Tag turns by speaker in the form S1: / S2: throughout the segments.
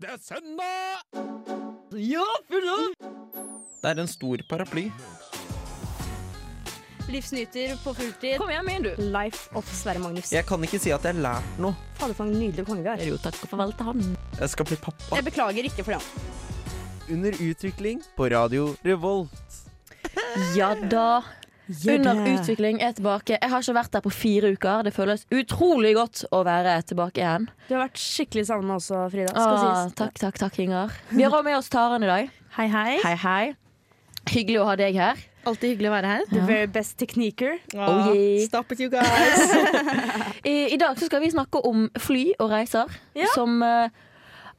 S1: Det er søndag!
S2: Ja, full av!
S3: Det er en stor paraply.
S4: Livsnyter på fulltid.
S2: Kom igjen, min, du.
S4: Life of Sverre Magnus.
S3: Jeg kan ikke si at jeg har lært noe.
S4: Fader, for en nydelig konge vi har.
S2: Jo, takk og farvel til han.
S3: Jeg skal bli pappa.
S4: Jeg beklager ikke for det.
S3: Under utvikling på Radio Revolt.
S2: Ja da. Under utvikling er tilbake. Jeg har ikke vært der på fire uker. Det føles utrolig godt å være tilbake igjen.
S4: Du har vært skikkelig savna også, Frida. Skal
S2: Ah,
S4: sies.
S2: takk, takk, takk, Inger. Vi har også med oss Taren i dag.
S5: Hei, hei.
S2: Hei, hei. Hyggelig å ha deg her.
S5: Alltid hyggelig å være her.
S4: The very best techniquer.
S2: Oh, yeah.
S5: Stop it, you guys.
S2: I, I dag så skal vi snakke om fly og reiser.
S4: Ja.
S2: Som eh,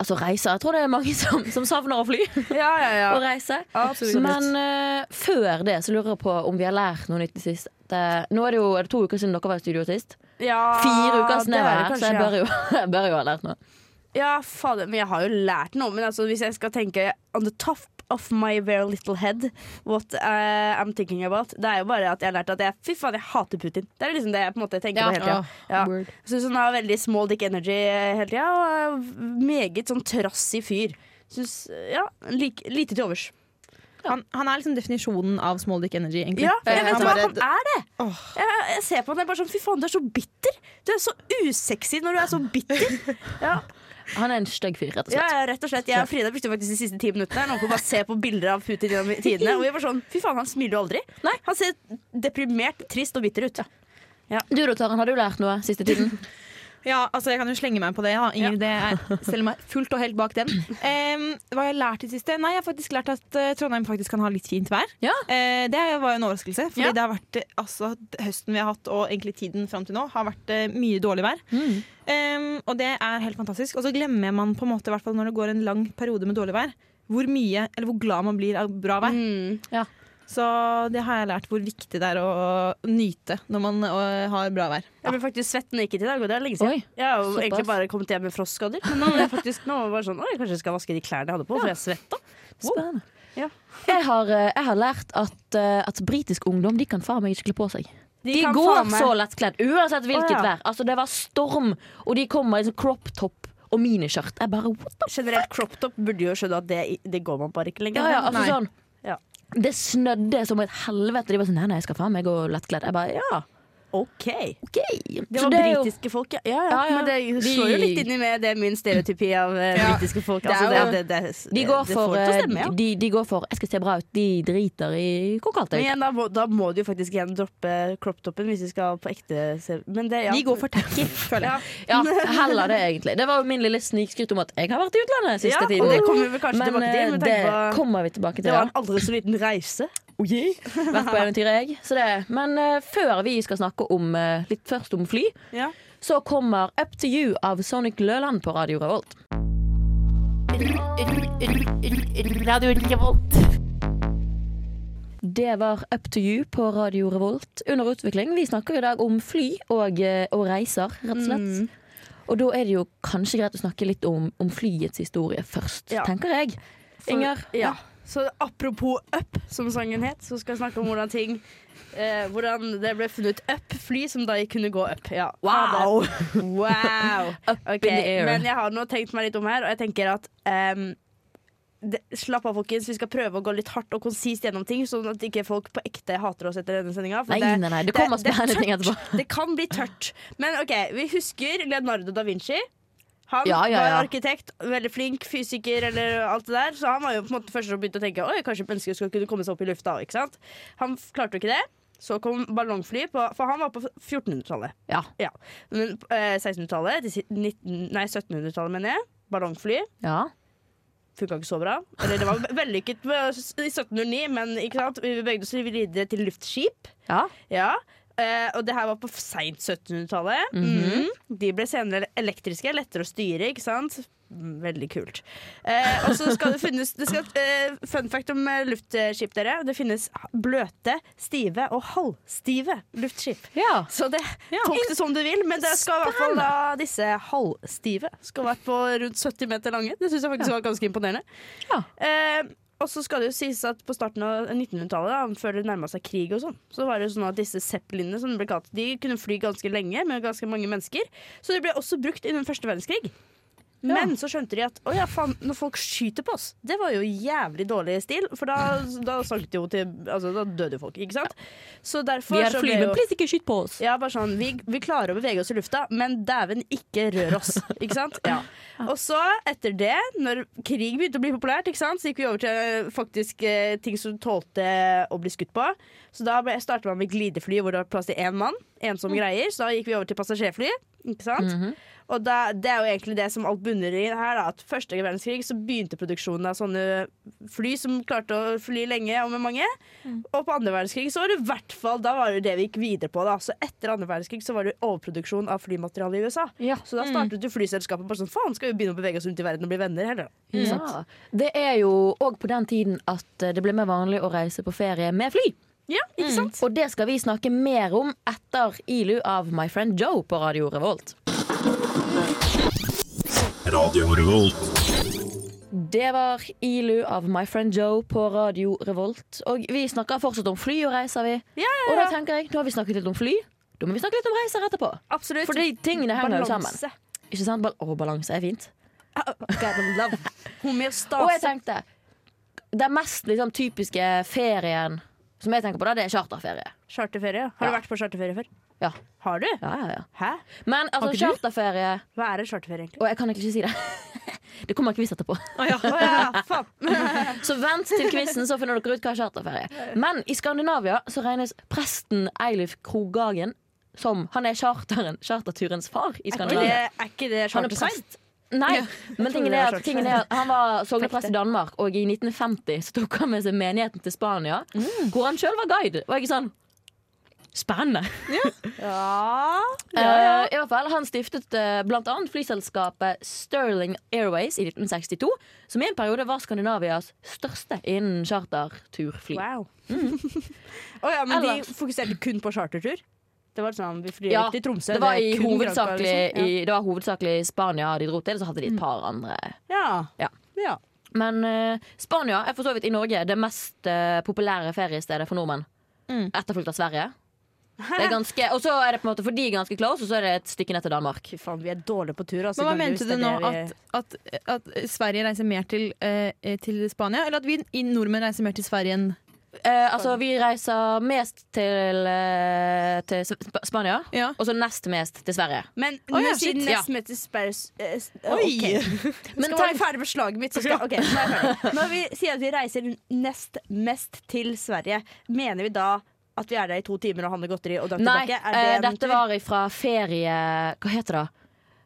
S2: Altså reiser. Jeg tror det er mange som, som savner å fly
S4: Ja, ja, ja.
S2: og reise.
S4: Absolutt.
S2: Men eh, før det så lurer jeg på om vi har lært noe nytt i sist. Det- nå er det jo er det to uker siden dere var i studio sist.
S4: Ja,
S2: Fire uker
S4: det
S2: siden jeg
S4: er
S2: var
S4: det
S2: her, så
S4: kanskje,
S2: jeg
S4: ja.
S2: bør jo, jeg bør jo ha lært noe.
S4: Ja, fader, men jeg har jo lært noe. Men altså, hvis jeg skal tenke on the top of my very little head what eh, I'm thinking about, det er jo bare at jeg har lært at jeg Fy faen, jeg hater Putin. Det er liksom det jeg på en måte tenker
S2: Ja.
S4: på hele tida. Ja. Syns han har veldig small dick energy eh, hele tida, og er meget sånn trassig fyr. Syns Ja, lik, lite til overs.
S5: Han, han er liksom definisjonen av small dick energy, egentlig. Eh,
S4: Ja, jeg vet
S5: han
S4: hva,
S5: bare-
S4: eh, han er det!
S5: Åh.
S4: Jeg, jeg ser på han, jeg er bare sånn Fy faen, du er så bitter! Du er så usexy når du er så bitter! Ja,
S2: Han er en stygg fyr, rett og
S4: ja
S2: slett.
S4: ja, rett og slett. Jeg og Frida brukte faktisk de siste ti minuttene her nå på å bare se på bilder av Putin gjennom tidene. Og vi var sånn Fy faen, han smiler jo aldri. Nei, Han ser deprimert, trist og bitter ut.
S2: Du da, Taren, har du lært noe siste tiden?
S5: ja, altså Jeg kan jo slenge meg på det. Da. Ingrid, det er, stiller meg fullt og helt bak den. Em, hva har jeg lært i det siste? Nei, Jeg har faktisk lært at eh, Trondheim faktisk kan ha litt fint vær.
S2: Ja.
S5: Eh, det var jo en overraskelse. Fordi
S2: Ja.
S5: det har vært, eh, altså, d- høsten vi har hatt, og egentlig tiden fram til nå, har vært eh, mye dårlig vær.
S2: Hmm,
S5: Em, og det er helt fantastisk. Og så glemmer man på en måte, i hvert fall når det går en lang periode med dårlig vær, hvor mye, eller hvor glad man blir av bra vær.
S4: Mm.
S5: Så det har jeg lært hvor viktig det er å nyte når man øh, har bra vær.
S4: Jeg ble faktisk svett når jeg gikk hit i dag, og det er lenge siden.
S2: Oi,
S4: jeg har jo
S2: såpass.
S4: egentlig bare kommet hjem med frostskader. Men nå ble jeg faktisk nå var jeg bare sånn Oi, kanskje jeg skal vaske de klærne jeg hadde på, for jeg svetta.
S2: Spennende.
S4: Ja.
S2: Jeg, har, eh, jeg har lært at, eh, at britisk ungdom de kan faen meg ikke kle på seg. De,
S4: kan
S2: går
S4: faen meg-
S2: så lettkledd, uansett hvilket
S4: Å, ja.
S2: vær. Altså, det var storm, og de kommer i sånn crop top og miniskjørt. Jeg bare what the
S4: Generelt crop top burde jo skjønne at det, det går man bare ikke lenger.
S2: ja, ja,
S4: Men-
S2: altså,
S5: Nei.
S2: sånn,
S4: Ja.
S2: Det snødde som et helvete. De bare sånn Nei, nei, jeg skal faen meg gå lettkledd. Jeg bare ja,
S4: OK.
S2: OK.
S4: Det
S2: Så
S4: var
S2: er jo-
S4: britiske folk, ja. Ja, ja.
S2: Ja, ja.
S4: Men det slår jo
S2: De-
S4: litt inn i med det min stereotypi av eh,
S5: Ja.
S4: britiske folk.
S5: Det er
S4: Altså, det,
S5: jo-
S4: det, det, det,
S2: De går,
S4: det
S2: for,
S4: får det til å stemme,
S2: eh,
S4: ja.
S2: de, de går for 'jeg skal se bra ut', de driter i hvor kaldt det
S4: Men
S2: er. ute.
S4: igjen, da må, da må du jo faktisk igjen droppe crop toppen hvis vi skal på ekte se- Men det, ja.
S5: De går for tacky, føler jeg.
S4: ja.
S2: Ja, heller det, egentlig. Det var jo min lille snikskryt om at jeg har vært i utlandet siste
S4: Ja, og
S2: tiden.
S4: det kommer vi vel kanskje
S2: Men
S4: tilbake til,
S2: eh,
S4: med
S2: det
S4: tanke på-
S2: kommer vi tilbake til.
S4: Det var en
S2: Ja.
S4: aldri så liten reise.
S2: Vært på eventyr, jeg. Så det. Men eh, før vi skal snakke om, eh, litt først om fly,
S4: Ja.
S2: så kommer Up to you av Sonic Løland på Radio Revolt. Det var Up to you på Radio Revolt under utvikling. Vi snakker i dag om fly og, eh, og reiser, rett og
S4: Mm.
S2: slett. Og da er det jo kanskje greit å snakke litt om, om flyets historie først,
S4: Ja.
S2: tenker jeg. Inger?
S4: Ja. Så apropos up, som sangen het, så skal jeg snakke om hvordan ting eh, Hvordan det ble funnet up fly som da kunne gå up. Ja.
S2: Wow!
S4: wow.
S2: Up in
S4: Ok,
S2: the air.
S4: Men jeg har nå tenkt meg litt om her, og jeg tenker at ehm, det, Slapp av, folkens. Vi skal prøve å gå litt hardt og konsist gjennom ting, sånn at ikke folk på ekte hater oss etter denne sendinga.
S2: Nei, nei, nei. Det kommer spennende ting etterpå.
S4: Det kan bli tørt. Men OK, vi husker Leonardo da Vinci. Han
S2: Ja, ja, ja.
S4: var arkitekt, veldig flink, fysiker eller alt det der. Så han var jo på en måte først som begynte å tenke Oi, kanskje mennesker skal kunne komme seg opp i lufta. Ikke sant? Han f- klarte jo ikke det. Så kom ballongfly, på, for han var på 1400-tallet.
S2: Ja.
S4: Ja. Men eh, 1600-tallet til si- 19 Nei, 1700-tallet, mener jeg. Ballongfly
S2: ja.
S4: funka ikke så bra. Eller det var ve- vellykket med- i 1709, men ikke sant? vi bevegde oss videre til luftskip.
S2: Ja.
S4: Ja, eh, og det her var på seint 1700-tallet. Mhm. De ble senere elektriske, lettere å styre, ikke sant? Mm, Veldig kult. Eh, og så skal det finnes det skal, eh, Fun fact om eh, luftskip, dere. Det finnes bløte, stive og halvstive luftskip.
S2: ja.
S4: Så det tok det som du vil, men det skal i hvert fall da disse halvstive skal vært på rundt 70 meter lange. Det syns jeg faktisk var ganske imponerende.
S2: Ja.
S4: Eh, og så skal det jo sies at på starten av 1900-tallet, da, før det nærma seg krig og sånn, så var det jo sånn at disse zeppelinene som de ble kalt, de kunne fly ganske lenge med ganske mange mennesker. Så de ble også brukt innen første verdenskrig. Men så skjønte de at å ja, faen, når folk skyter på oss, det var jo jævlig dårlig stil. For da, da sank det jo til Altså, da døde jo folk, ikke sant? Så derfor
S2: Vi har
S4: så
S2: fly,
S4: ble
S2: men
S4: jo
S2: please ikke skyt på oss.
S4: ja, bare sånn, vi, vi klarer å bevege oss i lufta, men dæven, ikke rør oss. Ikke sant? Ja. Og så, etter det, når krig begynte å bli populært, ikke sant? så gikk vi over til faktisk eh, ting som tålte å bli skutt på. Så da ble- startet man med glidefly, hvor det var plass til én mann. Ensom greier. Så da gikk vi over til passasjerfly. Ikke sant? Og da, det er jo egentlig det som alt bunner i her. Da, at første verdenskrig så begynte produksjonen av sånne fly som klarte å fly lenge og med mange. Og på andre verdenskrig så var det i hvert fall Da var det det vi gikk videre på. da Så etter andre verdenskrig så var det overproduksjon av flymateriale i USA.
S2: Ja.
S4: Så da startet jo flyselskapet bare sånn Faen, skal vi begynne å bevege oss rundt i verden og bli venner, heller? da?" Ikke sant?
S2: Ja. Det er jo òg på den tiden at eh, det ble mer vanlig å reise på ferie med fly.
S4: Ja, ikke sant?
S2: Og det skal vi snakke mer om etter ILU av My Friend Joe på Radio Revolt.
S1: Radio Revolt.
S2: Det var ILU av My Friend Joe på Radio Revolt. Og vi snakker fortsatt om fly og reiser, vi.
S4: Ja, ja,
S2: Og da tenker jeg, nå har vi snakket litt om fly. Da må vi snakke litt om reiser etterpå.
S4: Absolutt.
S2: For de tingene henger jo sammen.
S4: Balanse.
S2: Ikke sant? Bal og balanse er fint.
S4: Ah, Gotta love.
S2: Og jeg
S4: Homeostase.
S2: tenkte Den mest liksom, typiske ferien som jeg tenker på, da, det er charterferie.
S4: Charterferie. ja. Har du
S2: Ja.
S4: vært på charterferie før?
S2: Ja.
S4: Har du?
S2: Ja, ja, ja.
S4: Hæ?
S2: Men altså,
S4: ikke du?
S2: charterferie
S4: Hva er en charterferie, egentlig?
S2: Og jeg kan egentlig ikke si det. Det kommer ikke vi etterpå.
S5: Å ja.
S4: Å ja, faen.
S2: Så vent til quizen, så finner dere ut hva er charterferie. Men i Skandinavia så regnes presten Eilif Krogagen som Han er charteren, charterturens far
S4: Er
S2: i
S4: ikke det,
S2: Skandinavia.
S4: er ikke det
S2: Han er
S4: charterferie?
S2: prest. Nei,
S4: trodde
S2: men tingen
S4: det
S2: er
S4: var
S2: at, tingen er at han var sogneprest i
S4: Perfekt.
S2: Danmark, og i 1950 så tok han med seg menigheten til Spania,
S4: Mm.
S2: hvor han sjøl var guide. Var ikke sånn Spennende.
S4: Ja.
S2: Eh, I hvert fall, Han stiftet eh, blant annet flyselskapet Sterling Airways i 1962, som i en periode var Skandinavias største innen charterturfly.
S4: Wow. Å ja, men
S2: Ellers-
S4: de fokuserte kun på chartertur? Det var sånn, vi flyr
S2: Ja,
S4: til Tromsø.
S2: Det var,
S4: er
S2: i
S4: kun Granca,
S2: hovedsakelig,
S4: liksom.
S2: i, det var hovedsakelig Spania de dro til,
S4: Mm.
S2: så hadde de et par andre.
S4: ja.
S2: Ja.
S4: Ja. ja.
S2: Men eh, Spania er for så vidt i Norge det mest eh, populære feriestedet for nordmenn.
S5: Mm.
S2: Etterfulgt av Sverige. Det er ganske, og så er det på en måte for de ganske close, og så er det et stykke ned til Danmark.
S4: Fy faen, vi er dårlige på tur. Altså,
S5: Men hva
S4: Norge,
S5: mente
S4: hvis
S5: du
S4: det
S5: nå?
S4: er det
S5: At, at, at Sverige reiser mer til, eh, til Spania? Eller at vi i nordmenn reiser mer til Sverige enn
S2: Eh,
S4: Sånn.
S2: altså, vi reiser mest til, eh, til S- Sp- Spania,
S5: Ja.
S2: og så nest mest til Sverige.
S4: vi- Men
S5: Å ja,
S4: men siden
S5: shit.
S4: nest
S2: Ja.
S4: med til Spurs eh, s- eh,
S5: Oi!
S4: ok.
S2: Men
S4: Skal
S2: tenk-
S4: være ferdig med slaget mitt, så skal OK, nå er jeg ferdig. Når vi sier at vi reiser nest mest til Sverige, mener vi da at vi er der i to timer og handler godteri og drar
S2: Nei,
S4: tilbake? Er det
S2: eh,
S4: en
S2: dette
S4: tur?
S2: var fra ferie... Hva heter det?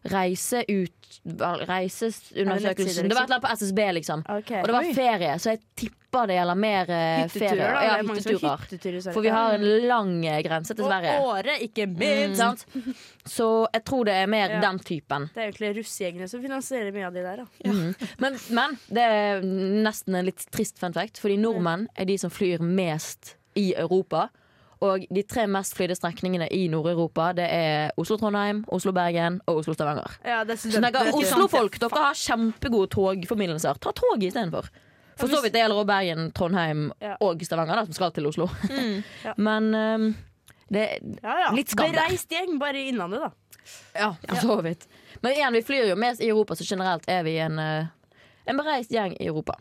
S2: Reise ut... vel, Reiseundersøkelsen.
S4: nettsider,
S2: Det var et eller annet på SSB, liksom.
S4: Ok.
S2: Og det var ferie, så jeg tipper det gjelder mer eh,
S4: Hytteturer,
S2: ferie.
S4: da.
S2: Ja,
S4: det er mange som har
S2: hytteturer.
S4: hytteturer i Sverige.
S2: For vi har en lang eh, grense til Sverige.
S4: Og året, ikke
S2: Mm,
S4: minst.
S2: sant? Så jeg tror det er mer
S4: Ja.
S2: den typen.
S4: Det er egentlig russegjengene som finansierer mye av de der. Da.
S2: Mhm. Men, men det er nesten en litt trist fun fact, fordi nordmenn er de som flyr mest i Europa. Og de tre mest flydde strekningene i Nord-Europa Det er Oslo-Trondheim, Oslo-Bergen og Oslo-Stavanger.
S4: Ja, det er
S2: Så tenker jeg,
S4: studentbøker.
S2: Oslo-folk, dere har kjempegode togforbindelser. Ta toget istedenfor. For så vidt det gjelder også Bergen, Trondheim
S4: Ja. Mm,
S2: og Stavanger, da, som skal til Oslo.
S4: Ja.
S2: Men ehm, det
S4: Ja, ja.
S2: Litt skam der.
S4: Bereist gjeng, bare i Innlandet, da.
S2: Ja, for så vidt. Men igjen, vi flyr jo mest i Europa, så generelt er vi en, eh, en bereist gjeng i Europa.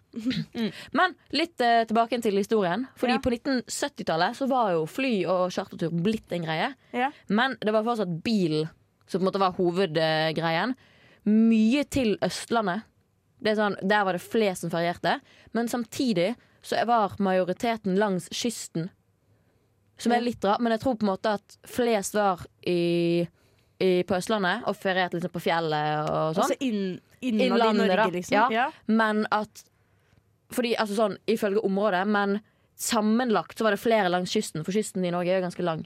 S2: Men litt eh, tilbake til historien. Fordi
S4: Ja.
S2: på 1970-tallet så var jo fly og chartertur blitt en greie.
S4: Ja.
S2: Men det var fortsatt bilen som på en måte var hovedgreien. Mye til Østlandet. Det er sånn, der var det flest som ferierte. Men samtidig så var majoriteten langs kysten. Som er litt rart, men jeg tror på en måte at flest var i, i, på Østlandet og ferierte liksom på fjellet og sånn.
S4: Altså inn, innad
S2: Innlandet,
S4: i Norge,
S2: da.
S4: liksom.
S2: Ja.
S4: Ja.
S2: Men at Fordi, altså sånn, ifølge området, men sammenlagt så var det flere langs kysten, for kysten i Norge er jo ganske lang.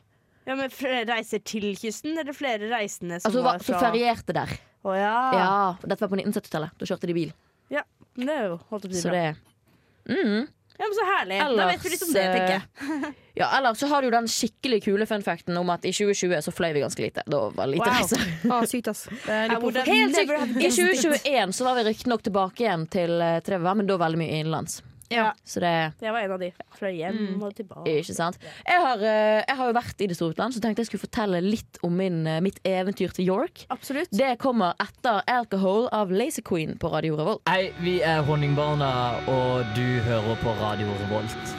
S4: Ja, men flere reiser til kysten, eller flere reisende som
S2: Altså, hva-
S4: var
S2: så
S4: fra
S2: ferierte der.
S4: Å ja.
S2: Ja, Dette var på 1970-tallet. Da kjørte de bil.
S4: Men Det er jo holdt opp å si
S2: Så
S4: bra.
S2: det mm.
S4: Ja, men så herlig. da vet vi litt om det,
S2: Ellers, eh,
S4: tenker jeg.
S2: Ja, Eller så har du den skikkelig kule fun facten om at i 2020 så fløy vi ganske lite. Da var det lite
S4: Wow.
S2: reiser.
S5: Å, sykt, ass. Det er
S4: Ja,
S5: litt
S4: hvor det-
S2: Helt
S4: Never
S2: sykt!
S4: have
S2: I 2021 så var vi riktignok tilbake igjen til, eh, til det vi var, men da veldig mye innenlands.
S5: Ja.
S2: Så det
S4: Jeg var en av de. Fløy hjem
S2: Mm.
S4: og tilbake.
S2: Ikke sant? Jeg har, eh, jeg har jo vært i det store utland, så tenkte jeg skulle fortelle litt om min, eh, mitt eventyr til York.
S4: Absolutt.
S2: Det kommer etter 'Alcohol' av Lazy Queen på Radio Revolt.
S6: Hei, vi er Honningbarna, og du hører på Radio Revolt.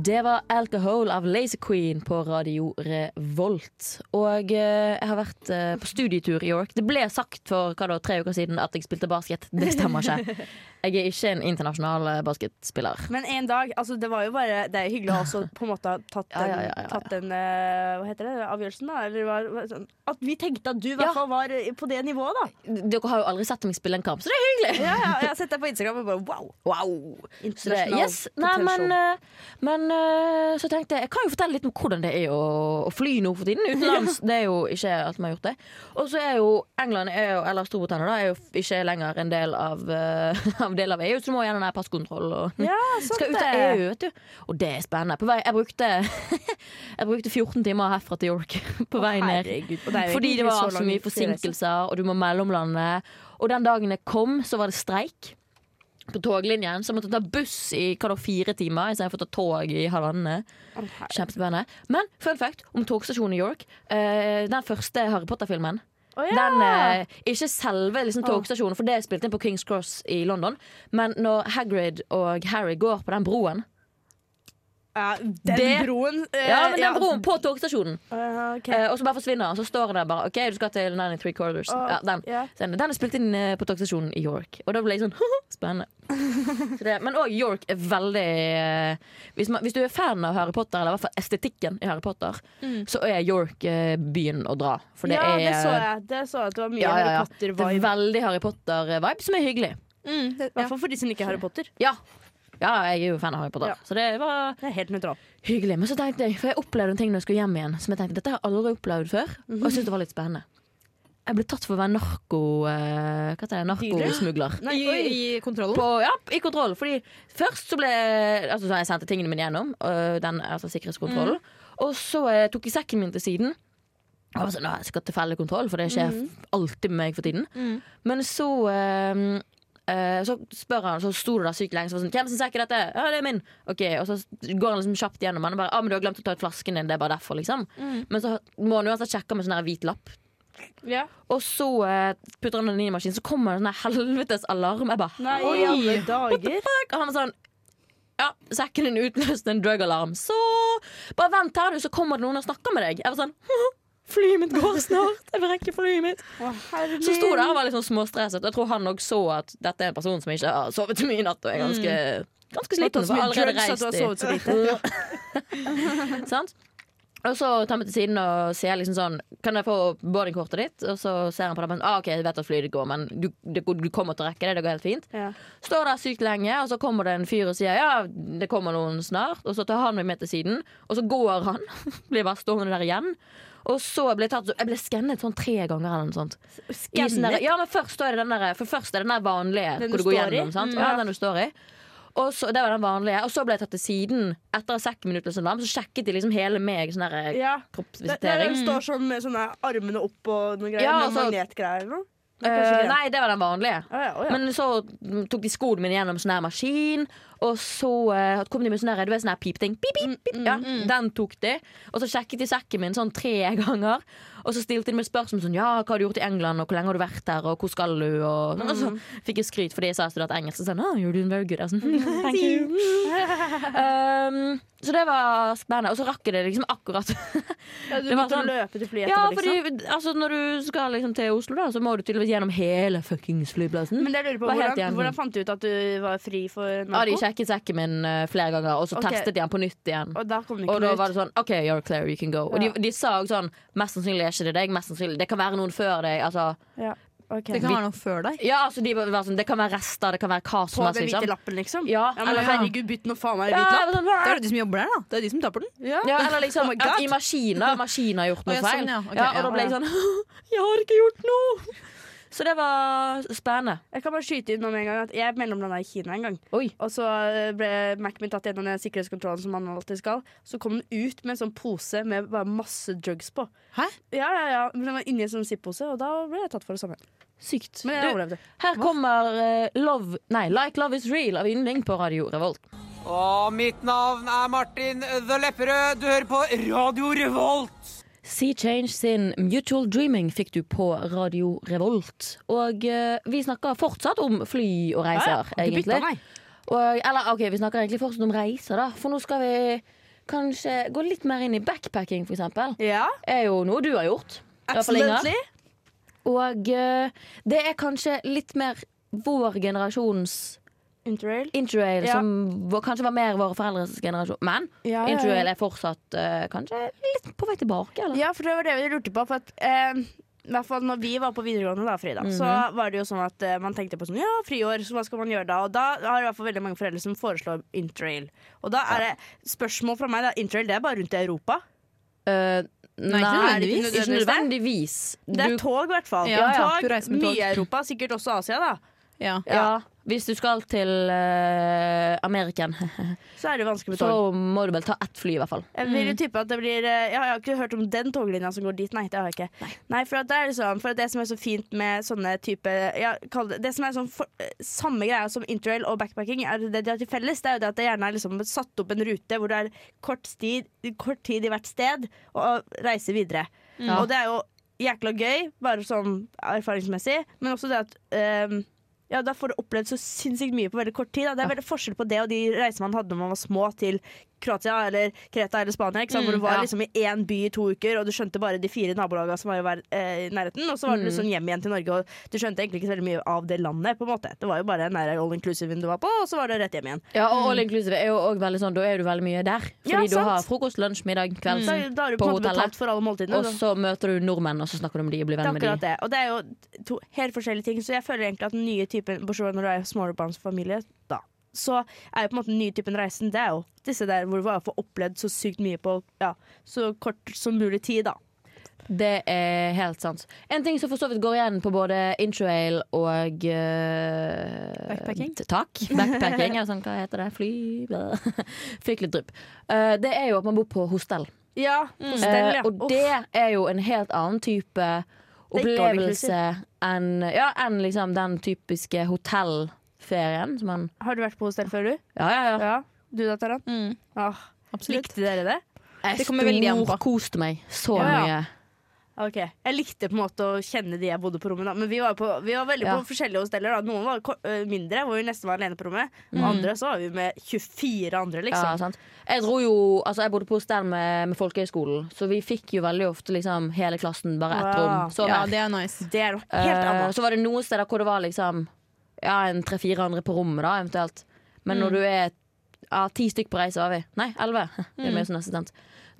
S2: Det var 'Alcohol' av Lazy Queen på Radio Revolt. Og eh, jeg har vært eh, på studietur i York. Det ble sagt for hva da, tre uker siden at jeg spilte basket. Det stemmer ikke. Jeg er ikke en internasjonal eh, basketspiller.
S4: Men en dag altså Det var jo bare Det er jo hyggelig å ha også på en måte ha tatt
S2: Ja,
S4: den,
S2: ja, ja, ja, ja.
S4: Tatt den eh, hva heter det, avgjørelsen, da. Eller hva- hva, sånn, at vi tenkte at du i
S2: Ja.
S4: hvert fall var eh, på det nivået, da.
S2: Dere har jo aldri sett meg spille en kamp, så det er hyggelig.
S4: Ja, ja, jeg har sett deg på Instagram og bare wow!
S2: Så det,
S4: Internasjonal
S2: yes. Nei,
S4: potential.
S2: men, eh, men eh, så tenkte jeg Jeg kan jo fortelle litt om hvordan det er å, å fly nå for tiden. Utenlands. Det er jo ikke alt man har gjort det. Og så er jo England er jo, eller Storbritannia da, er jo f- ikke lenger en del av, eh, av, del av EU, så du må gjennom den her passkontroll og
S4: ja,
S2: skal
S4: sant
S2: ut av
S4: det.
S2: EU, vet du. Og det er spennende. På vei, jeg, brukte, jeg brukte 14 timer herfra til York på vei ned.
S4: Herregud. Og det er jo
S2: Fordi
S4: ikke
S2: det var så
S4: lang
S2: mye
S4: flyreise.
S2: forsinkelser, og du må mellomlande. Og den dagen jeg kom, så var det streik på toglinjen, så jeg måtte ta buss i hva da, fire timer istedenfor å ta tog i halvannen.
S4: Å, herregud.
S2: Kjempespennende. Men fun fact om togstasjonen i York. eh, den første Harry Potter-filmen.
S4: Å, ja.
S2: Den, eh, ikke selve liksom,
S4: Å.
S2: togstasjonen, for det er spilt inn på Kings Cross i London. Men når Hagrid og Harry går på den broen
S4: ja, den
S2: det-
S4: broen eh,
S2: Ja, men den broen på togstasjonen!
S4: Ja, ok.
S2: eh, og så bare forsvinner han, så står han der bare. OK, du skal til 93 Corridors.
S4: Å,
S2: Ja, den.
S4: ja.
S2: Så Den den er spilt inn eh, på togstasjonen i York, og da ble jeg sånn spennende. Så det, men òg York er veldig eh, hvis, man, hvis du er fan av Harry Potter, eller i hvert fall estetikken i Harry Potter, så er York eh, byen å dra. For det
S4: Mm. ja,
S2: er
S4: det så jeg. Det så jeg at det var mye
S2: Ja, ja, ja.
S4: Harry
S2: Det er
S4: Potter-vibe.
S2: veldig Harry Potter-vibe, som er hyggelig.
S5: Mm, det,
S4: I hvert fall for de som liker Harry Potter.
S2: Ja. ja, jeg er jo fan av Harry Potter,
S4: Ja.
S2: så det var
S4: Det er helt nøytralt.
S2: hyggelig. Men så tenkte jeg, for jeg opplevde en ting når jeg skulle hjem igjen, som jeg tenkte dette har jeg aldri opplevd før,
S4: Mhm.
S2: og jeg syntes det var litt spennende. Jeg ble tatt for å være narko... Eh, hva heter det? Narkosmugler.
S5: I, I kontrollen.
S2: på, ja, i kontroll. Fordi først så ble altså, så Jeg sendte tingene mine gjennom, øh, den altså, sikkerhetskontrollen. Og så eh, tok jeg sekken min til siden. Og jeg var sånn, «Nå, jeg skal tilfeldig kontroll, for det skjer alltid med meg for tiden. Men så eh, eh, så spør han, så sto det der sykt lenge. Så var det sånn, Hvem sin sekk er dette? Ja, det er min. Ok, Og så går han liksom kjapt gjennom den. Og bare, ah, men du har glemt å ta ut flasken din. Det er bare derfor, liksom. Men så må han uansett sjekke med sånn her hvit lapp.
S4: Ja.
S2: Og så eh, putter han den inn i maskinen, så kommer det en sånn her helvetes alarm. Jeg bare
S4: Nei,
S2: Oi.
S4: i alle dager.
S2: og han var sånn ja, sekken din utløste en drug-alarm. Så bare vent her, du, så kommer det noen og snakker med deg. Jeg var sånn «Hå, Flyet mitt går snart. Jeg vil rekke flyet mitt. Så sto der og var litt sånn småstresset. Og jeg tror han òg så at dette er en person som ikke har sovet så mye i natt og er ganske, ganske sliten. For allerede reist i
S4: så lite.
S2: Sant? Og så tar vi til siden og ser liksom sånn Kan jeg få boardingkortet ditt? Og så ser han på det men, ah, OK, jeg vet at flyet går, men du, du, du kommer til å rekke det. Det går helt fint.
S4: Ja.
S2: Står der sykt lenge, og så kommer det en fyr og sier ja, det kommer noen snart. Og så tar han meg med til siden, og så går han. Blir bare stående der igjen. Og så ble jeg tatt, jeg ble skannet sånn tre ganger eller noe sånt. I sånn der, ja, men først så er det den der, for først er det den der vanlige
S4: Den
S2: hvor
S4: du
S2: du går
S4: står i?
S2: gjennom. Sant?
S4: Mm.
S2: Ja, den du står i. Og så, det var den vanlige. Og så ble jeg tatt til siden. Etter sekk minutter, sånn, så sjekket de liksom hele meg. Sånn der, eh,
S4: Ja. Det, det er
S2: kroppsvisitering.
S4: den står sånn med sånne armene opp og noen greier.
S2: Ja,
S4: med
S2: altså-
S4: magnetgreier eller noe. Det er kanskje
S2: Eh,
S4: ikke det.
S2: nei, det var den vanlige.
S4: Å ja, å ja.
S2: Men så mm, tok de skoene mine gjennom sånn her maskin, og så eh, kom de med sånn her, du vet, sånn her pipting. Pip, pip, pip. Ja, den tok de. Og så sjekket de sekken min sånn tre ganger. Og så stilte de meg spørsmål sånn Ja, hva har du gjort i England, og hvor lenge har du vært der, og hvor skal du, og, og så fikk jeg skryt fordi jeg sa jeg studerte engelsk. Og sånn, oh, you're doing very good. Jeg var sånn, «Mm, Thank you. um, så det var spennende. Og så rakk jeg det liksom akkurat.
S4: ja, du
S2: det var
S4: måtte
S2: sånn-
S4: løpe til flyet
S2: ja,
S4: etterpå,
S2: fordi
S4: liksom.
S2: altså, når du skal liksom til Oslo, da, så må du tydeligvis gjennom hele fuckings flyplassen.
S4: Men det jeg lurer på,
S2: Var helt
S4: hvordan,
S2: jævlig.
S4: hvordan fant du ut at du var fri for
S2: Ja, de
S4: narko?
S2: sjekket sekken min eh, flere ganger, og så
S4: Ok.
S2: testet de den på nytt igjen.
S4: og da kom det
S2: Og
S4: ikke
S2: da
S4: noe ut.
S2: var det sånn OK, you're clear, you can go. Og de, de sa også sånn Mest sannsynlig er ikke det deg, mest sannsynlig Det kan være noen før deg. Altså,
S4: Ja, ok.
S5: Det kan være noe før deg.
S2: ja, altså de var sånn Det kan være rester, det kan være hva som
S4: På
S2: helst.
S4: den hvite
S2: Liksom.
S4: lappen, liksom?
S2: Ja,
S4: men
S2: eller-
S4: herregud, bytt nå faen meg i
S2: Ja,
S4: hvit lapp.
S2: jeg var sånn,
S5: Det er jo de som jobber der, da. Det er jo de som tar på den.
S4: Ja.
S2: ja, eller liksom
S4: Oh my
S2: at
S4: God.
S2: i maskinen Maskinen har gjort
S5: Å,
S2: noe
S5: ja,
S2: feil.
S5: sånn, ja. Ok,
S2: og
S5: ja.
S2: da ble jeg
S5: Ja.
S2: sånn Jeg har ikke gjort noe! Så det var spennende.
S4: Jeg kan bare skyte inn noe med en gang at jeg mellomlanda i Kina en gang.
S2: Oi.
S4: Og så eh, ble Mac min tatt gjennom den sikkerhetskontrollen som man alltid skal. Så kom den ut med en sånn pose med bare masse drugs på.
S5: Hæ?
S4: Ja, ja, ja. Men Den var inni en sånn zipp-pose, og da ble jeg tatt for det samme.
S2: Sykt.
S4: Men jeg
S2: Du,
S4: overlevde.
S2: her kommer eh, Love Nei, Like Love Is Real av yndling på Radio Revolt.
S7: Og mitt navn er Martin The Lepperød. Du hører på Radio Revolt.
S2: Sea Change sin Mutual Dreaming fikk du på Radio Revolt. Og eh, vi snakker fortsatt om fly og reiser, egentlig. Og, eller OK, vi snakker egentlig fortsatt om reiser, da. For nå skal vi kanskje gå litt mer inn i backpacking, for eksempel.
S4: Ja,
S2: Er jo noe du har gjort. i hvert fall Inger.
S4: absolutely.
S2: Og eh, det er kanskje litt mer vår generasjons
S4: Interrail.
S2: interrail,
S4: Ja.
S2: som var, kanskje var mer våre foreldres generasjon. Men
S4: Ja, ja, ja.
S2: interrail er fortsatt eh, kanskje litt på vei tilbake, eller?
S4: Ja, for det var det vi lurte på. For at, eh, i hvert fall når vi var på videregående, da, Frida, så
S5: Mhm.
S4: var det jo sånn at eh, man tenkte på sånn Ja, friår, så hva skal man gjøre da? Og da har i hvert fall veldig mange foreldre som foreslår interrail. Og da er det spørsmål fra meg, da. Interrail, det er bare rundt i Europa.
S2: Eh, nei,
S5: ikke
S2: ikke nødvendigvis.
S4: nødvendigvis.
S2: Du,
S4: Det er tog, i hvert fall.
S5: Ja, ja, du
S4: Tog,
S5: reiser med tog.
S4: mye i Europa, sikkert også Asia, da.
S5: Ja.
S2: ja, hvis du skal til uh, Ameriken,
S4: Så er det vanskelig med
S2: så
S4: tog.
S2: må du vel ta ett fly, i hvert fall.
S4: Jeg vil jo tippe at det blir eh, Jeg har ikke hørt om den toglinja som går dit. Nei, det har jeg ikke. Nei, for, at det er sånn, for at det som er så fint med sånne type ja, kall det, det som er sånn for, eh, samme greia som interrail og backpacking, er det de har til felles, det er jo det at det gjerne er liksom satt opp en rute hvor det er kort, stid, kort tid i hvert sted, og reise videre. Og det er jo jækla gøy, bare sånn erfaringsmessig, men også det at eh, ja, Da får du opplevd så sinnssykt mye på veldig kort tid. Da. Det er veldig forskjell på det og de reisene man hadde når man var små til Kroatia eller Kreta eller Spania. Ikke sant? Hvor du var
S5: ja.
S4: liksom i én by i to uker, og du skjønte bare de fire nabolagene som var i hver- eh, i nærheten. Og så var du liksom hjem igjen til Norge, og du skjønte egentlig ikke så veldig mye av det landet. på en måte. Det var jo bare nære all inclusive du var på, og så var det rett hjem igjen.
S2: Ja, og all inclusive er jo også veldig sånn, da er du veldig mye der.
S4: Ja,
S2: Fordi du
S4: sant.
S2: har frokost, lunsj, middag, kvelds.
S4: Da, da har du
S2: Mm. På
S4: på en måte
S2: hotellet.
S4: betalt for alle måltidene.
S2: Og
S4: da.
S2: så møter du nordmenn, og så snakker du om de og blir
S4: Det er
S2: venn med de.
S4: akkurat det. Og det er jo to helt forskjellige ting. Så jeg føler egentlig at den nye typen Bortsett fra når du er småbarnsfamilie, da. Så er jo på en måte den nye typen reisen Det er jo disse der hvor du bare får opplevd så sykt mye på ja, så kort som mulig tid, da.
S2: Det er helt sant. En ting som for så vidt går igjen på både interrail og eh,
S5: Backpacking?
S2: t- Takk. Backpacking, eller sånn, hva heter det? Fly blæ. Fikk litt drypp. Eh, det er jo at man bor på hostell.
S4: Ja, på stell,
S2: Eh,
S4: ja.
S2: og
S4: Uff.
S2: det er jo en helt annen type
S4: er ikke all
S2: opplevelse enn ja, enn liksom den typiske hotellferien som man
S4: Har du vært på hostell før, du?
S2: Ja, ja, ja.
S4: Ja. Du da, Taran?
S5: Mm,
S4: Ah,
S5: absolutt.
S4: likte dere det?
S5: Det kommer veldig an på.
S2: Storkoste meg så
S4: Ja, ja.
S2: mye.
S4: Ok, Jeg likte på en måte å kjenne de jeg bodde på rommet da. Men vi var, på, vi var veldig
S2: Ja.
S4: på forskjellige hosteller. da Noen var ko- øh, mindre, hvor vi nesten var alene på rommet. Og
S2: Mm.
S4: andre så var vi med 24 andre,
S2: Ja,
S4: liksom.
S2: sant. Jeg dro jo, altså jeg bodde på hostell med, med folkehøyskolen, så vi fikk jo veldig ofte liksom hele klassen bare ett
S4: Wow.
S2: rom. Så, mer.
S5: Ja, det er nice.
S4: Det er noe helt
S2: Eh,
S4: annet.
S2: så var det noen steder hvor det var liksom ja, en tre-fire andre på rommet, da eventuelt. Men
S4: Mm.
S2: når du er ja, ti stykk på reise, var vi. Nei, elleve. Det
S4: Mm.
S2: er mye som nesten sant.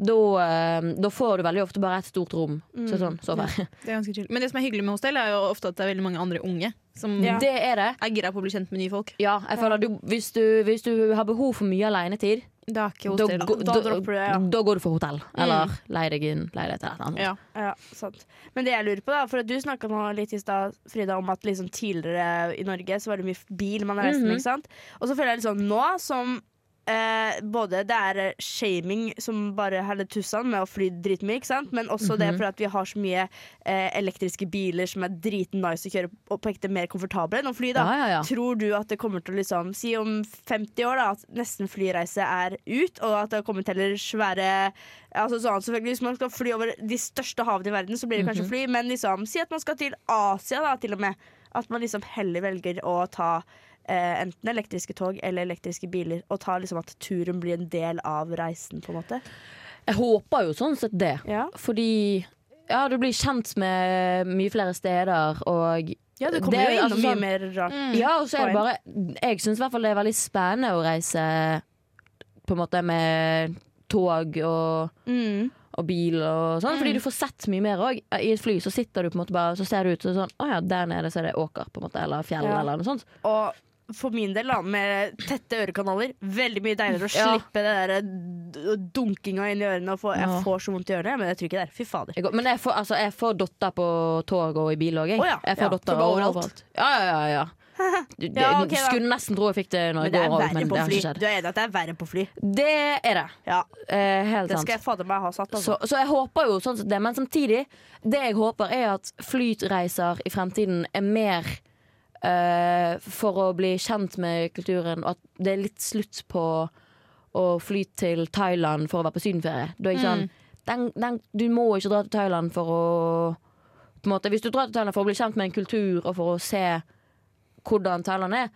S2: Da, eh, da får du veldig ofte bare et stort rom.
S4: Mm.
S2: Så sånn, så her.
S5: Det er ganske chill. Men det som er hyggelig med hostell, er jo ofte at det er veldig mange andre unge som
S4: Ja.
S2: Det er det.
S5: er gira på å bli kjent med nye folk.
S2: Ja, jeg føler du, hvis, du, hvis du har behov for mye alenetid,
S5: Det er ikke
S2: da,
S5: hostell.
S2: gå-
S4: Da
S2: da,
S4: dropper du det, ja. Mm.
S2: da går du for hotell. Eller leie deg inn leilighet eller noe annet.
S5: Ja.
S4: Ja, sant. Men det jeg lurer på da, for at du snakka nå litt i stad, Frida, om at liksom tidligere i Norge så var det mye bil man reiste med, ikke sant? Og så føler jeg litt sånn nå som eh, både det er eh, shaming som bare heller tussan med å fly dritmye, ikke sant? Men også
S2: Mhm.
S4: det for at vi har så mye eh, elektriske biler som er dritnice å kjøre og på ekte mer komfortable enn å fly, da.
S2: Ja, ja, ja.
S4: Tror du at det kommer til å liksom Si om 50 år, da, at nesten flyreise er ut, og at det har kommet heller svære Altså sånn, selvfølgelig Hvis man skal fly over de største havene i verden, så blir det
S2: Mhm.
S4: kanskje fly, men liksom, si at man skal til Asia, da, til og med. At man liksom heller velger å ta eh, enten elektriske tog eller elektriske biler, og ta liksom at turen blir en del av reisen, på en måte.
S2: Jeg håper jo sånn sett det.
S4: Ja.
S2: Fordi ja, du blir kjent med mye flere steder, og
S4: Ja, det kommer
S2: Det er
S4: jo innom
S2: altså sånn-
S4: mye mer rart.
S2: Ja, og så er det
S4: Poeng.
S2: bare Jeg syns i hvert fall det er veldig spennende å reise på en måte med tog og,
S4: Mm.
S2: og bil og sånn, fordi du får sett mye mer òg. I et fly så sitter du på en måte bare Så ser du ut og sånn Å ja, der nede så er det åker, på en måte, eller fjell,
S4: Ja.
S2: eller noe sånt.
S4: Og for min del, da, med tette ørekanaler, veldig mye deiligere å
S2: Ja.
S4: slippe det der d- dunkinga inn i ørene. Og få,
S2: Ja.
S4: Jeg får så vondt i ørene, men jeg tror ikke det er Fy fader.
S2: Jeg går, men jeg får, altså, jeg får dotter på tog og i bil òg, jeg.
S4: Å ja,
S2: Jeg får
S4: ja,
S2: dotter
S4: for det er
S2: overalt.
S4: overalt.
S2: Ja, ja, ja. ja. Du, det,
S4: Ja, ok, da.
S2: skulle nesten tro jeg fikk det når
S4: Men
S2: jeg
S4: det er
S2: går over,
S4: verre
S2: men
S4: på
S2: det har
S4: fly.
S2: ikke skjedd.
S4: Du er enig at det er verre på fly?
S2: Det er det.
S4: Ja,
S2: Eh, helt
S4: det
S2: sant.
S4: skal jeg fader meg ha satt. Altså.
S2: Så, så jeg håper jo sånn som det, men samtidig Det jeg håper er at flytreiser i fremtiden er mer eh, for å bli kjent med kulturen, og at det er litt slutt på å fly til Thailand for å være på sydenferie. Da er jeg sånn den, den, Du må ikke dra til Thailand for å på en måte, Hvis du drar til Thailand for å bli kjent med en kultur og for å se hvordan Thailand er,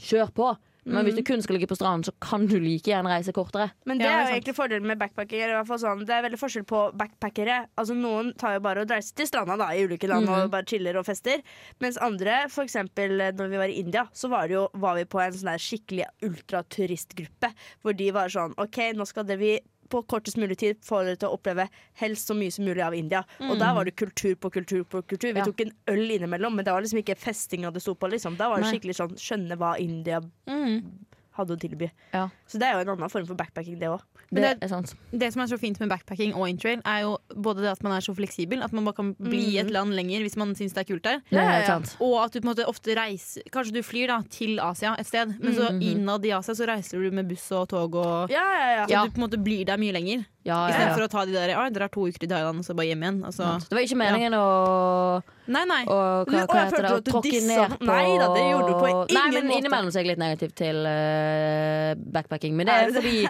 S2: kjør på. Men hvis du kun skal ligge på stranden, så kan du like gjerne reise kortere.
S4: Men det
S5: Ja, det er
S4: er jo
S5: sant.
S4: egentlig fordelen med backpackere. i hvert fall Sånn. Det er veldig forskjell på backpackere. Altså Noen tar jo bare og reiser til stranda da, i ulike land og bare chiller og fester. Mens andre, f.eks. når vi var i India, så var, det jo, var vi på en sånn der skikkelig ultraturistgruppe. Hvor de var sånn OK, nå skal det vi på kortest mulig tid få dere til å oppleve helst så mye som mulig av India. Og der var det kultur på kultur på kultur. Vi
S2: Ja.
S4: tok en øl innimellom, men det var liksom ikke festinga det sto på. liksom Da var det
S2: Nei.
S4: skikkelig sånn skjønne hva India
S5: Mm.
S4: hadde å tilby.
S2: Ja.
S4: Så det er jo en annen form for backpacking, det òg.
S5: Men
S2: Det
S5: det-
S2: er sant.
S5: Det som er så fint med backpacking og interrail, er jo både det at man er så fleksibel, at man bare kan bli
S4: Mm.
S5: i et land lenger hvis man syns det er kult der.
S2: Det er
S4: ja,
S2: helt
S4: ja.
S2: sant.
S5: Og at du på en måte ofte reiser Kanskje du flyr da til Asia et sted, men så innad i Asia så reiser du med buss og tog og
S4: Mm. Ja, ja, ja.
S5: Så du på en måte blir der mye lenger.
S2: Ja, ja, ja.
S5: Istedenfor for å ta de der «Å, dere har to uker i Thailand og så bare hjem igjen.
S2: Det
S5: Altså.
S2: var ikke meningen å
S5: Nei, nei.
S2: Og hva,
S4: Du- å,
S2: hva
S4: jeg
S2: heter
S4: følte
S2: det? Å
S4: at du
S2: tråkke
S4: dissa
S2: ned
S4: den.
S2: på
S4: Nei da, det gjorde du på
S2: Nei,
S4: ingen
S2: men
S4: måte.
S2: innimellom så er jeg litt negativ til eh, backpacking. Men det
S4: Er
S2: er fordi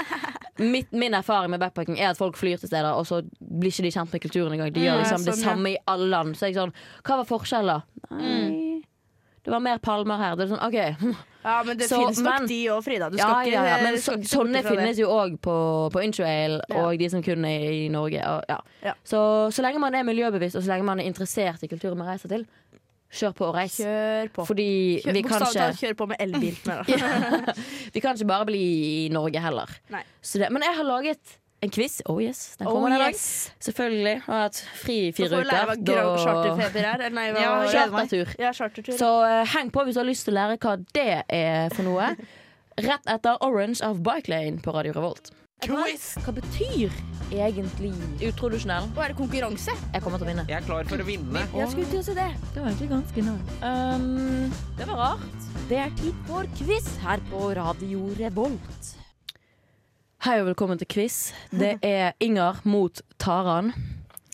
S2: mitt, min erfaring med backpacking er at folk flyr til steder, og så blir ikke de kjent med kulturen engang. De gjør
S4: ja,
S2: liksom det
S4: sånn, ja. Mm.
S2: samme i alle land. Så er jeg sånn Hva var forskjellen? Nei. Det var mer palmer her. Det er sånn, ok
S4: Ja, men det
S2: Så,
S4: finnes nok
S2: men-
S4: de òg, Frida. Du skal
S2: ja,
S4: ikke,
S2: ja, ja. Men
S4: du skal
S2: så,
S4: ikke se bort
S2: sånne
S4: ifra det.
S2: finnes jo òg på, på Intrail
S4: Ja.
S2: og de som kun er i Norge. Og, ja.
S4: Ja.
S2: Så, så lenge man er miljøbevisst og så lenge man er interessert i kulturen man reiser til, kjør på og reis.
S4: Kjør på.
S2: Fordi
S4: Kjør,
S2: vi kan,
S4: bokstavelig
S2: ikke,
S4: talt, kjør på med elbil. men da.
S2: vi kan ikke bare bli i Norge heller.
S4: Nei.
S2: Så det, men jeg har laget en quiz. Oh yes, den kommer en dag. Selvfølgelig. Og har hatt fri i
S4: Så får
S2: fire
S4: vi lære hva
S2: uker.
S4: grov charterfeber er. Eller nei, hva,
S5: Ja,
S4: ja,
S5: kjør.
S2: chartertur.
S4: ja, chartertur.
S2: Så eh, heng på hvis du har lyst til å lære hva det er for noe. Rett etter Orange av Bike Lane på Radio Revolt.
S7: Quiz!
S2: Hva betyr egentlig utrodusjonell?
S4: Og er det konkurranse?
S2: Jeg kommer til å vinne.
S7: Jeg er klar for å vinne.
S4: Jeg skulle til å si det.
S2: Det var egentlig ganske nært. Um, det var rart. Det er tid for quiz her på Radio Revolt. Hei og velkommen til quiz. Det er Inger mot Taran.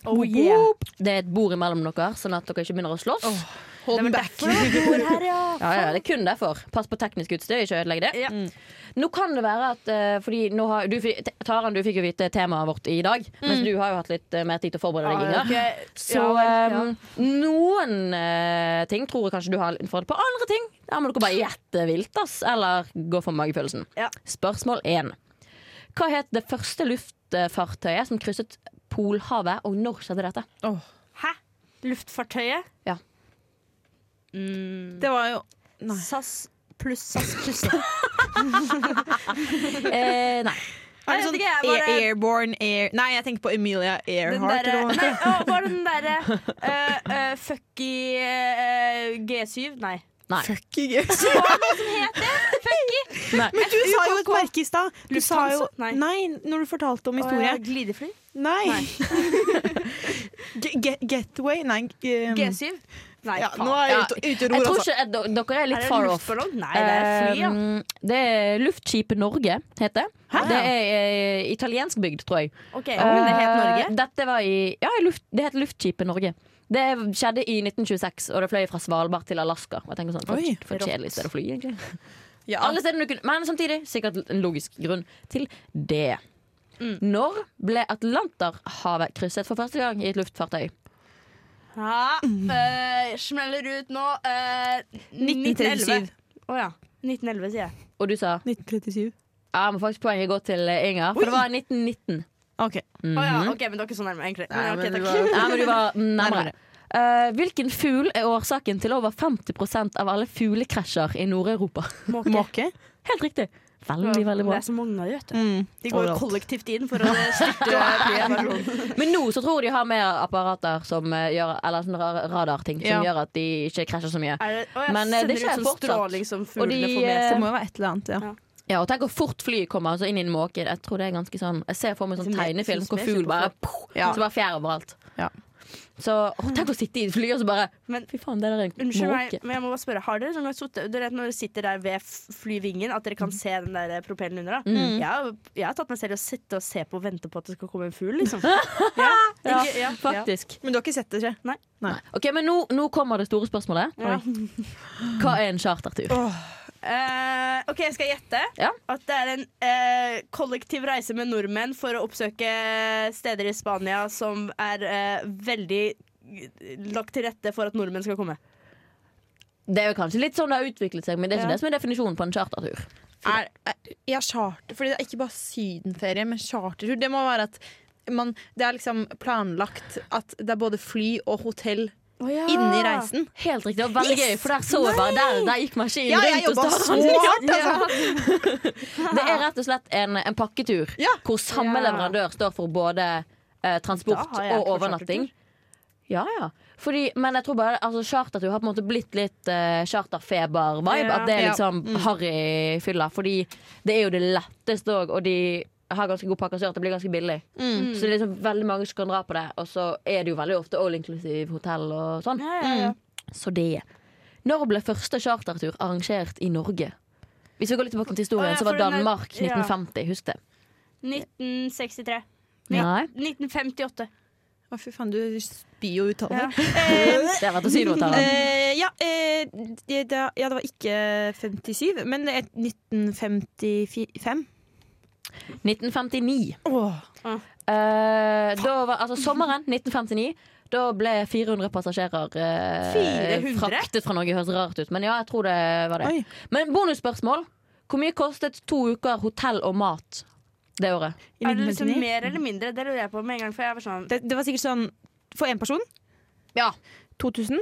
S4: Oh, yeah.
S2: Det er et bord imellom dere, sånn at dere ikke begynner å slåss.
S5: Hold den back.
S2: Ja, ja, det er kun derfor. Pass på teknisk utstyr, ikke ødelegg det. Mm.
S4: Ja.
S2: Nå kan det være at eh, fordi nå har, du, fi- Taran, du fikk jo vite temaet vårt i dag, mens du har jo hatt litt eh, mer tid til å forberede deg, Inger.
S4: ok.
S2: Så
S4: Mm. Ja, vel, ja.
S2: ehm, noen eh, ting tror jeg kanskje du har litt fordel på. Andre ting der må dere bare gjette vilt, ass. Eller gå for magefølelsen.
S4: Ja.
S2: Spørsmål én. Hva het det første luftfartøyet som krysset Polhavet, og når skjedde dette?
S4: Hæ? Luftfartøyet?
S2: Ja.
S4: Mm.
S5: Det var jo Nei.
S4: SAS pluss SAS pluss.
S2: Eh, nei.
S5: Er
S4: jeg
S5: det
S4: vet
S5: sånn
S4: ikke, jeg bare-
S5: air, airborne air Nei, jeg tenker på Emilia
S4: Den
S5: Earhart.
S4: derre
S5: eller hva
S4: Nei,
S5: det heter.
S4: å, var det den derre uh, uh, fucky eh, G7? Nei.
S5: Fucking yes.
S2: nei.
S5: Men du sa jo et merke i stad. Du sa jo
S4: Lufthansa? Nei.
S5: Nei, når du fortalte om
S4: Å, ja,
S5: historie.
S4: Glidefly?
S5: Nei.
S4: Nei.
S5: Ge- ge- Getaway? Nei. um,
S4: G7? Nei,
S5: Ja, nå
S4: faen.
S5: er jeg
S2: Ja,
S5: ute, ute og
S2: Jeg
S5: ror,
S2: tror
S5: altså.
S2: ikke eh, d- Dere er litt
S4: er det
S2: far
S4: en
S2: off.
S4: luftballong? Nei, det er fly, ja.
S2: Ehm, det er Luftskipet Norge, heter det. Det er eh, italiensk bygd, tror jeg.
S4: Ok, Men det het Norge?
S2: Eh, Dette var i Ja, i luft, det het Luftskipet Norge. Det skjedde i 1926, og det fløy fra Svalbard til Alaska. Og jeg tenker sånn, For,
S5: Oi,
S2: for et kjedelig sted å fly, egentlig.
S5: Ja.
S2: Alle steder du kunne, men samtidig sikkert en logisk grunn til det.
S4: Mm.
S2: Når ble Atlanterhavet krysset for første gang i et luftfartøy?
S4: Ja, eh, smeller ut nå. eh,
S5: 1937.
S4: 1911. Å ja. 1911, sier jeg.
S2: Og du sa
S5: 1937.
S2: ja, men faktisk poenget går til eh, Inger, for det var 1919.
S5: Ok.
S4: Å ja, ok, Men du er ikke så nærme, egentlig. Men, ok, takk.
S2: Mhm. Nei, men du var nærmere. Eh, hvilken fugl er årsaken til over 50 av alle fuglekrasjer i Nord-Europa?
S5: Måke?
S2: Helt riktig. Veldig, veldig bra.
S4: Det er så mange av de, vet du.
S5: Mm.
S4: De går
S2: Overalt.
S4: kollektivt inn for å styrte versjonen.
S2: Men nå så tror jeg de har med apparater som eh, gjør Eller sånne ra- radarting som
S5: Ja.
S2: gjør at de ikke krasjer så mye.
S4: Er det, å, jeg
S2: Men, eh, det
S4: sender
S2: skjer
S4: ut sånn
S2: fortsatt.
S4: stråling som fuglene får med
S2: de, eh,
S5: Det
S4: seg.
S5: må jo være et eller annet, ja.
S2: Ja, og tenk hvor fort flyet kommer altså inn i en måke. Jeg tror det er ganske sånn Jeg ser for meg en sånn
S4: Som jeg-
S2: tegnefilm
S4: som
S2: hvor
S4: jeg
S2: fugl
S4: kjøper
S2: bare
S5: Ja.
S2: Så bare fjær overalt.
S5: Ja.
S2: Så åh, tenk å sitte i et fly og så bare
S4: Men-
S2: Fy faen, det der er en
S4: Unnskyld meg,
S2: måke.
S4: men jeg må bare spørre Har dere noen gang sittet dere vet når dere sitter der ved f- flyvingen, at dere kan se den der eh, propellen under? Da?
S2: Mm.
S4: Jeg, har, jeg har tatt meg selv i å sitte og se på og vente på at det skal komme en fugl, liksom. ja,
S2: Ja,
S4: ikke, ja,
S2: faktisk.
S5: Men du har ikke sett det, ikke?
S2: Ok, Men nå, nå kommer det store spørsmålet.
S4: Ja.
S2: Hva er en chartertur?
S4: Eh, OK, jeg skal gjette
S2: Ja.
S4: at det er en eh, kollektiv reise med nordmenn for å oppsøke steder i Spania som er eh, veldig lagt til rette for at nordmenn skal komme.
S2: Det er jo kanskje litt sånn det har utviklet seg, men det er ikke
S4: Ja.
S2: det som er definisjonen på en chartertur.
S5: er, er, ja, charter, fordi det er ikke bare sydenferie, men chartertur. Det må være at man, det er liksom planlagt at det er både fly og hotell inni reisen.
S2: Helt riktig. og Veldig gøy, for der så jeg bare der, der gikk maskinen
S5: Ja,
S2: rundt
S5: jeg jobba
S2: og
S5: så
S2: startet.
S5: hardt, altså!
S2: Det er rett og slett en, en pakketur
S5: Ja.
S2: hvor samme
S4: Ja.
S2: leverandør står for både
S4: Da
S2: eh, transport
S4: har jeg
S2: og
S4: ikke
S2: overnatting. Ja, ja. Fordi, men jeg tror bare altså, chartertur har på en måte blitt litt eh, charterfeber-vibe.
S4: Ja.
S2: At det er
S5: Ja. Mm.
S2: liksom harryfylla. Fordi det er jo det letteste òg, og de har ganske god pakke, så det blir ganske billig.
S5: Mm.
S2: Så det er liksom veldig mange som kan dra på det. Og så er det jo veldig ofte all inclusive hotell og sånn.
S4: Ja, ja, ja.
S2: Så det Når ble første chartertur arrangert i Norge? Hvis vi går litt tilbake til
S4: Å,
S2: historien,
S4: ja,
S2: så var
S4: for den er-
S2: Danmark
S4: ja.
S2: 1950. Husk det.
S4: 1963.
S2: Nei,
S4: 1958.
S5: Å, fy faen, du spyr jo ut tall her.
S2: det er rett å si noe annet.
S5: Eh, ja, eh, det, det, ja, det var ikke 57, men det er 1955.
S2: 1959.
S5: Åh.
S2: Eh, da var, altså sommeren 1959. Da ble 400 passasjerer eh,
S4: 400?
S2: fraktet fra Norge. Høres rart ut, men ja, jeg tror det var det.
S5: Oi.
S2: Men bonusspørsmål. Hvor mye kostet to uker hotell og mat det året?
S5: I
S4: Er det liksom
S5: 1959.
S4: mer eller mindre? Det lurer jeg på med en gang. For jeg var sånn
S5: Det, det var sikkert sånn for én person.
S2: Ja.
S5: 2000.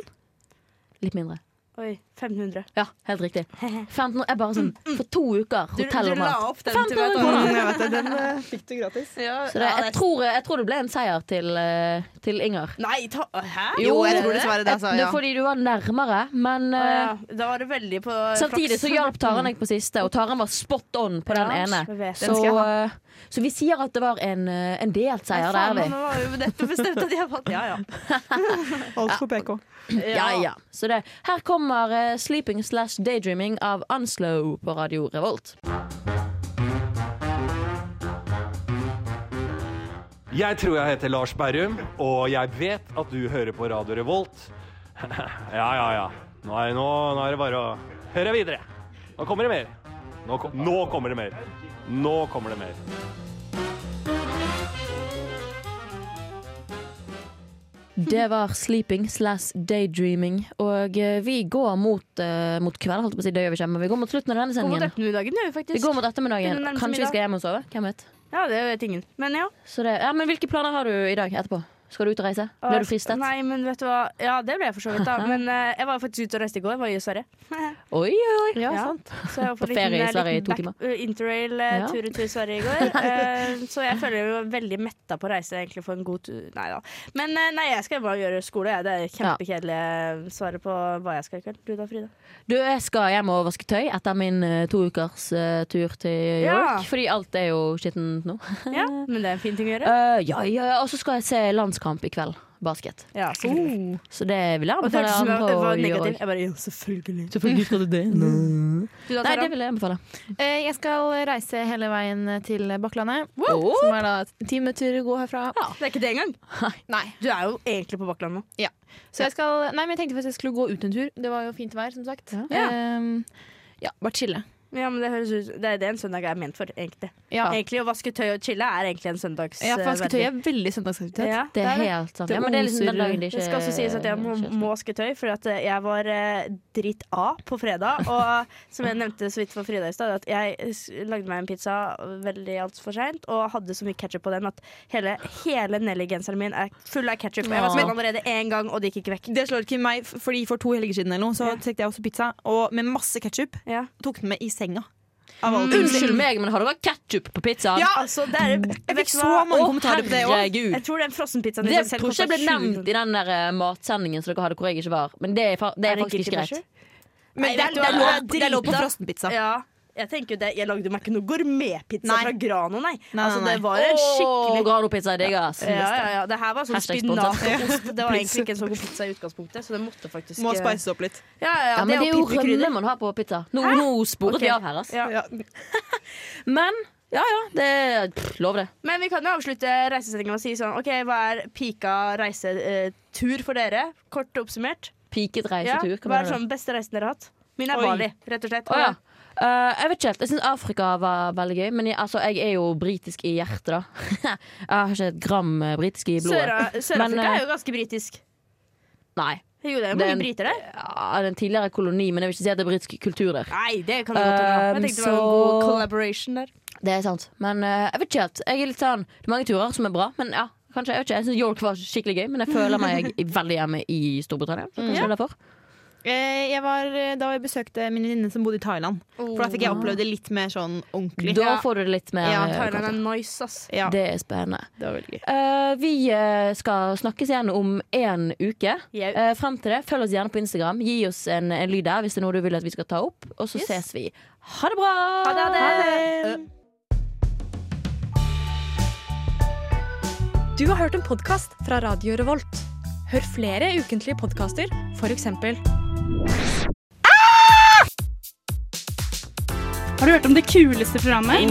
S2: Litt mindre.
S4: Oi, 500.
S2: Ja, helt riktig. 15, jeg bare sånn, For to uker
S4: Du, du
S2: hotell og
S4: la
S2: mat.
S4: opp den til meg.
S2: 500 kroner.
S5: jeg vet det, den eh, fikk du gratis.
S4: Ja,
S2: Så det,
S4: ja,
S2: jeg, tror, jeg tror det ble en seier til, eh, til Inger.
S4: Nei, ta, hæ?
S5: Jo, jeg tror dessverre det, altså,
S2: Det
S5: ja.
S2: er fordi du var nærmere, men
S4: Å,
S2: eh,
S4: ja. Da var det veldig på
S2: samtidig så hjalp Taren deg på siste, og Taren var spot on på den
S4: Ja, jeg
S2: ene.
S4: vet.
S2: Så,
S5: Den skal jeg ha.
S2: eh, så vi sier at det var en, eh, en delt seier der, vi.
S4: Nå var jo nettopp bestemt at jeg vant. Ja, ja.
S5: Alt for PK.
S2: Ja, ja. Så det, her kommer eh, 'Sleeping slash Daydreaming' av Unslow på Radio Revolt.
S8: Jeg tror jeg heter Lars Berrum, og jeg vet at du hører på Radio Revolt. ja, ja, ja. Nå er, nå, nå er det bare å høre videre. Nå kommer det mer. Nå, kom, nå kommer det mer. Nå kommer det mer.
S2: Det var 'Sleeping slash Daydreaming', og eh, vi går mot, eh, mot kvelden, holdt jeg på å si. Det gjør vi ikke, men vi går mot slutten av denne
S4: Gå mot
S2: sendingen.
S4: ettermiddagen, gjør vi
S2: Vi
S4: faktisk.
S2: går mot ettermiddagen.
S4: Begynner nærmest
S2: Kanskje vi
S4: middag.
S2: skal hjem og sove? Hvem vet?
S4: Ja, det vet ingen. Men ja.
S2: Så det, ja, men hvilke planer har du i dag etterpå? Skal du ut og reise? Ble du fristet?
S4: Nei, men vet du hva. Ja, det ble jeg for så vidt, da. Men eh, jeg var faktisk ute og reiste i går. Var i Sverige.
S2: Oi, oi.
S4: Ja. Så jeg var på,
S2: På ferie i
S4: liten, eh,
S2: Sverige i
S4: liten
S2: to timer.
S4: back- eh, Interrail eh,
S2: Ja.
S4: tur til Sverige i går. Eh, så jeg føler meg veldig metta på å reise egentlig for en god tur. Nei da. Men eh, nei, jeg skal bare gjøre skole. Jeg. Det er kjempekjedelig eh, svaret på hva jeg skal i kveld. Du da, Frida?
S2: Du, jeg skal hjem og vaske tøy etter min eh, to ukers eh, tur til York.
S4: Ja.
S2: Fordi alt er jo skittent nå.
S4: Ja, men det er en fin ting å gjøre.
S2: Eh, ja, ja, ja. Og så skal jeg se landskamp i kveld. Basket.
S4: Ja, selvfølgelig.
S2: Så Uh, det vil jeg
S4: Og det
S2: anbefale
S4: hørtes ut som
S2: andre
S4: jeg
S2: å
S4: var
S2: gjøre
S4: negativ.
S2: òg.
S4: Jeg bare, ja, selvfølgelig.
S2: Selvfølgelig skal du det.
S4: Du da,
S2: Nei,
S4: Tara?
S2: det vil jeg anbefale.
S5: Eh, Jeg skal reise hele veien til Bakklandet.
S2: Woo!
S5: Som er da en timetur å gå herfra.
S4: Det er ikke det engang.
S5: Nei.
S4: Du er jo egentlig på Bakkland nå.
S5: Så jeg skal, nei, men jeg tenkte faktisk jeg skulle gå ut en tur. Det var jo fint vær, som sagt.
S2: Ja.
S5: Ehm, ja bare chille.
S4: Ja, men Det høres ut, det er det en søndag er ment for, egentlig.
S5: Ja,
S4: Egentlig Å vaske tøy og chille er egentlig en søndags...
S5: ja for
S4: eh,
S5: vasketøy er veldig søndagsaktivitet.
S4: Ja,
S2: Det er
S4: det.
S2: helt sant.
S5: Det
S2: Ja, men det er liksom den
S5: oser-
S2: dagen det ikke
S4: Det skal også sies at jeg må, må vaske tøy, for at eh, jeg var eh, dritt A på fredag. Og som jeg nevnte så vidt for Frida i stad, at jeg s- lagde meg en pizza veldig altfor seint og hadde så mye ketsjup på den at hele, hele Nelly-genseren min er full av ketsjup. Jeg var
S2: Åh.
S4: sånn allerede én gang, og det gikk ikke vekk.
S5: Det slår ikke meg, f- fordi for to helger siden eller noe, så
S4: Ja.
S5: tekte jeg også pizza og med masse ketsjup.
S4: Ja.
S5: Tok den med i senga. Av alle ting.
S2: Unnskyld meg, men har dere ketsjup på pizzaen?
S5: Ja,
S4: Altså, det er,
S5: jeg
S4: vet
S5: fikk
S4: du
S5: så
S4: hva?
S5: mange
S2: Å,
S5: kommentarer på det òg.
S2: herregud.
S4: Jeg tror den frossenpizzaen i
S2: Det
S4: seg selv
S2: tror ikke jeg ble
S4: kostet 20
S2: nevnt i den der eh, matsendingen som dere hadde hvor jeg ikke var. Men det er, fa det er,
S4: Er det
S2: faktisk ikke
S4: guilty
S2: greit.
S5: Men
S4: Nei,
S5: det
S4: vet
S5: er
S4: du hva,
S5: det er lov,
S4: det er
S5: det er lov på
S4: drita.
S5: frossenpizza.
S4: Ja, jeg tenker jo det Jeg lagde meg ikke noe gourmetpizza
S5: Nei.
S4: fra Grano, nei.
S5: Nei,
S4: Altså,
S5: nei,
S4: det
S5: nei.
S4: var en
S2: Åh,
S4: skikkelig
S2: Grano-pizza er digg, ass.
S4: ja, ja, ja. Det her var sånn
S2: Hashtag
S4: spinat
S2: sponset.
S4: og ost. Det var egentlig ikke en sånn god pizza i utgangspunktet, så det måtte faktisk
S5: Må
S4: eh,
S5: spices opp litt.
S4: Ja, ja, ja,
S2: Ja, men det er jo
S4: og pippekrydder.
S2: rømme man har på pizza. Nå, nå
S4: Ok.
S2: sporet vi av her, altså. ass.
S4: Ja.
S5: Ja.
S2: Men ja, ja, det er- pff, Lov det.
S4: Men vi kan jo avslutte reisesendingen med å si sånn OK, hva er pika reisetur for dere? Kort oppsummert.
S2: Piket
S4: Ja,
S2: reisetur. hva
S4: hva er
S2: mener du?
S4: sånn beste reisen dere har hatt? Min er
S5: Oi.
S4: Bali, rett og slett.
S2: Å ja. Eh, jeg vet ikke helt. Jeg syns Afrika var veldig gøy. Men jeg, altså, jeg er jo britisk i hjertet, da. jeg har ikke et gram eh, britisk i blodet.
S4: Søra-
S2: Men,
S4: Sør-Afrika
S2: eh,
S4: er jo ganske britisk.
S2: Nei.
S4: Jo, det er
S2: det er
S4: mange
S2: en-
S4: briter der.
S2: Ja, det er en tidligere koloni, men jeg vil ikke si at det er britisk kultur der.
S4: Nei, det kan du godt hende.
S2: Um,
S4: Jeg tenkte det var en god
S2: så-
S4: collaboration der.
S2: Det er sant. Men eh, jeg vet ikke helt. Jeg er litt sånn Det er mange turer som er bra, men ja. Kanskje, jeg vet ikke, jeg syns York var skikkelig gøy, men jeg føler meg veldig hjemme i Storbritannia. Så kanskje det er derfor.
S5: Eh, Jeg var, eh, da jeg besøkte min venninne som bodde i Thailand. For da fikk jeg opplevd det litt mer sånn ordentlig.
S2: Da får du det litt mer
S5: Ja,
S2: eh,
S4: Thailand er
S2: godt.
S4: nice, ass.
S5: Ja,
S2: Det er spennende.
S5: det var veldig gøy.
S2: Eh, vi eh, skal snakkes igjen om én uke.
S4: Jau.
S2: Eh, frem til det, følg oss gjerne på Instagram. Gi oss en, en lyd der hvis det er noe du vil at vi skal ta opp. Og så ses vi. Ha det bra!
S4: Ha det, ha det.
S9: Du har hørt en podkast fra Radio Revolt. Hør flere ukentlige podkaster, f.eks.
S10: Har du hørt om det kuleste programmet?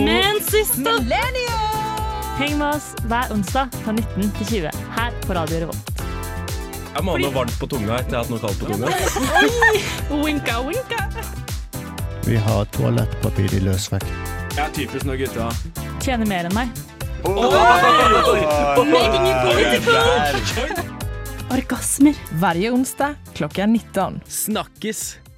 S9: Heng med oss hver onsdag fra 19 til 20 her på Radio Revolt.
S1: Jeg må ha noe varmt på tunga etter at jeg har hatt noe kaldt på tunga.
S10: Winka, winka.
S6: Vi har toalettpapir i løsvekt.
S1: Jeg er typisk når gutta
S9: Tjener mer enn meg.
S10: Orgasmer.
S6: Hver onsdag klokka 19.
S7: Snakkes!